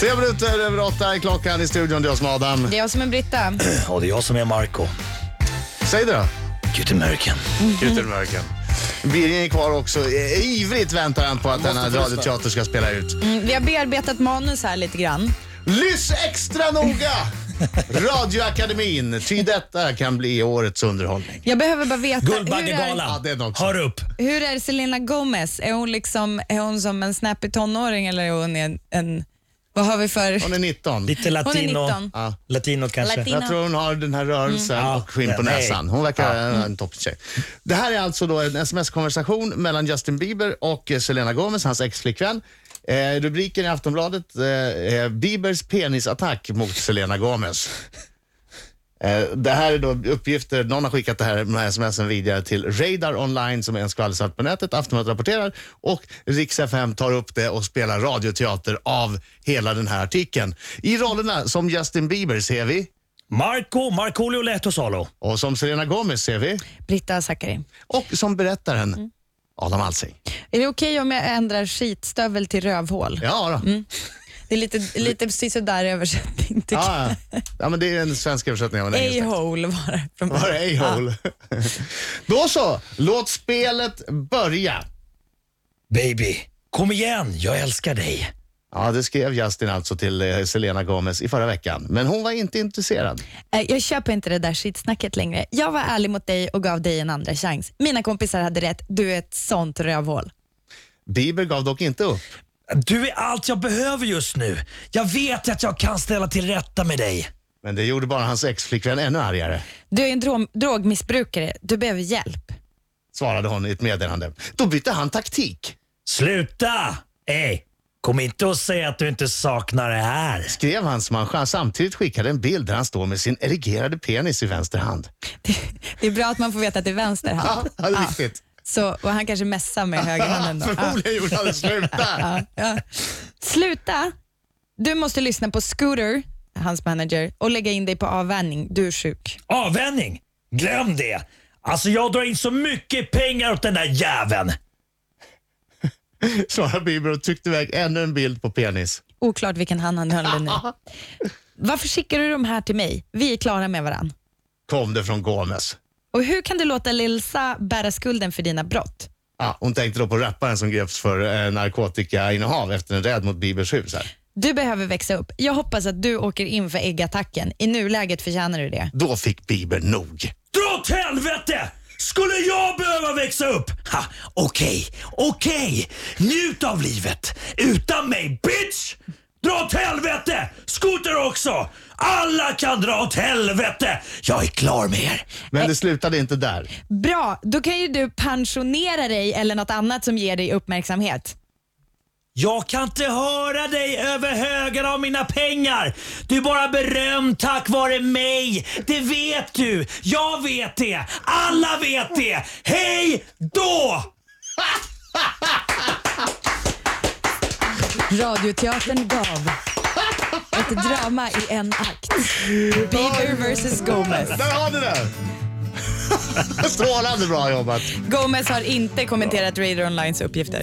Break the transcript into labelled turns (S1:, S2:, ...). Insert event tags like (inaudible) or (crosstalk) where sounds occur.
S1: Tre minuter över åtta är klockan i studion. Det är jag som är Adam.
S2: Det är jag som är Britta. Mm,
S3: Och det är jag som är Marco.
S1: Säg det då. (laughs)
S3: Good American.
S4: Gutenbergen.
S1: Birgit är kvar också. Eh, Ivrigt väntar han på att denna radioteater ska spela ut.
S2: Mm, vi har bearbetat manus här lite grann.
S1: Lyss extra noga! Radioakademin, ty detta kan bli årets underhållning.
S2: Jag behöver bara veta, hur är,
S1: Ja,
S3: Guldbaggegalan.
S1: det är den också.
S3: Hör upp.
S2: hur är Selena Gomez? Är hon, liksom, är hon som en snappig tonåring eller är hon en... en vad har vi för...
S1: Hon är 19.
S3: Lite latino.
S2: Hon är 19.
S1: Ja.
S3: Latino kanske.
S2: Latino.
S1: Jag tror hon har den här rörelsen
S3: Ja,
S1: och skinn på
S3: den-
S1: näsan. Hon verkar ja. en topptjej. Det här är alltså då en sms-konversation mellan Justin Bieber och eh, Selena Gomez, hans ex-flickvän. Eh, rubriken i Aftonbladet eh, är Biebers penisattack mot Selena Gomez. Eh, Det här är då uppgifter, någon har skickat det här, de här smsen vidare till Radar Online som är en skvallersajt på nätet. Aftonbladet rapporterar och Rix FM tar upp det och spelar radioteater av hela den här artikeln. I rollerna som Justin Bieber ser vi
S3: Marco, Markoolio Lehtosalo.
S1: och som Selena Gomez ser vi.
S2: Britta Zackari.
S1: Och som berättaren Adam Alsing.
S2: Är det okej om jag ändrar skitstövel till rövhål?
S1: Ja, då.
S2: Det är lite, lite sådär översättning tycker (laughs) jag.
S1: ja, ja. ja, men det är en svensk översättning av en engelsk text.
S2: A-hole var det från
S1: Var det a-hole? (laughs) Då så, låt spelet börja.
S3: Baby, kom igen. Jag älskar dig.
S1: Ja, det skrev Justin alltså till eh, Selena Gomez i förra veckan, men hon var inte intresserad.
S2: Eh, Jag köper inte det där skitsnacket längre. Jag var ärlig mot dig och gav dig en andra chans. Mina kompisar hade rätt. Du är ett sånt rövhål.
S1: Bieber gav dock inte upp.
S3: Du är allt jag behöver just nu. Jag vet att jag kan ställa till rätta med dig.
S1: Men det gjorde bara hans ex-flickvän ännu argare,
S2: Du är en drog- drogmissbrukare. Du behöver hjälp. (laughs)
S1: svarade hon i ett meddelande. Då bytte han taktik,
S3: Sluta! Ey, kom inte och säg att du inte saknar det här.
S1: skrev hans man samtidigt skickade en bild där han står med sin erigerade penis i vänster hand.
S2: Det, det är bra att man får veta att det är vänster
S1: Ja,
S2: hand.
S1: det är viktigt.
S2: Så, och han kanske
S1: (laughs)
S2: messar med högerhanden. Då. Ja,
S1: Förmodligen gjorde han det. Sluta!
S2: ja, ja. Sluta! Du måste lyssna på Scooter, hans manager, och lägga in dig på avvänjning. Du är sjuk.
S3: Avvänjning? Glöm det. Alltså jag drar in så mycket pengar åt den där jäveln.
S1: Svarade Bieber och tryckte iväg ännu en bild på penis.
S2: Oklart vilken hand han höll det nu. Varför skickar du de här till mig? Vi är klara med varann.
S1: Kom det från Gomez.
S2: Och hur kan du låta Lilsa bära skulden för dina brott?
S1: Ja, hon tänkte då på rapparen som greps för eh, narkotikainnehav efter en räd mot Biebers hus. Här.
S2: Du behöver växa upp. Jag hoppas att du åker in för äggattacken. I nuläget förtjänar du det.
S1: Då fick Bieber nog.
S3: Dra åt helvete! Skulle jag behöva växa upp? Ha, okej, okej. Njut av livet. Utan mig, bitch! Dra åt helvete! Skoter också! Alla kan dra åt helvete! Jag är klar med er.
S1: Men det slutade inte där.
S2: Bra, då kan ju du pensionera dig eller något annat som ger dig uppmärksamhet.
S3: Jag kan inte höra dig över högen av mina pengar. Du är bara berömd tack vare mig. Det vet du. Jag vet det. Alla vet det. Hej då!
S2: Radioteatern gav ett drama i en akt. Bieber vs Gomez.
S1: Där har ni det! (laughs) Strålande bra jobbat.
S2: Gomez har inte kommenterat Radio Onlines uppgifter.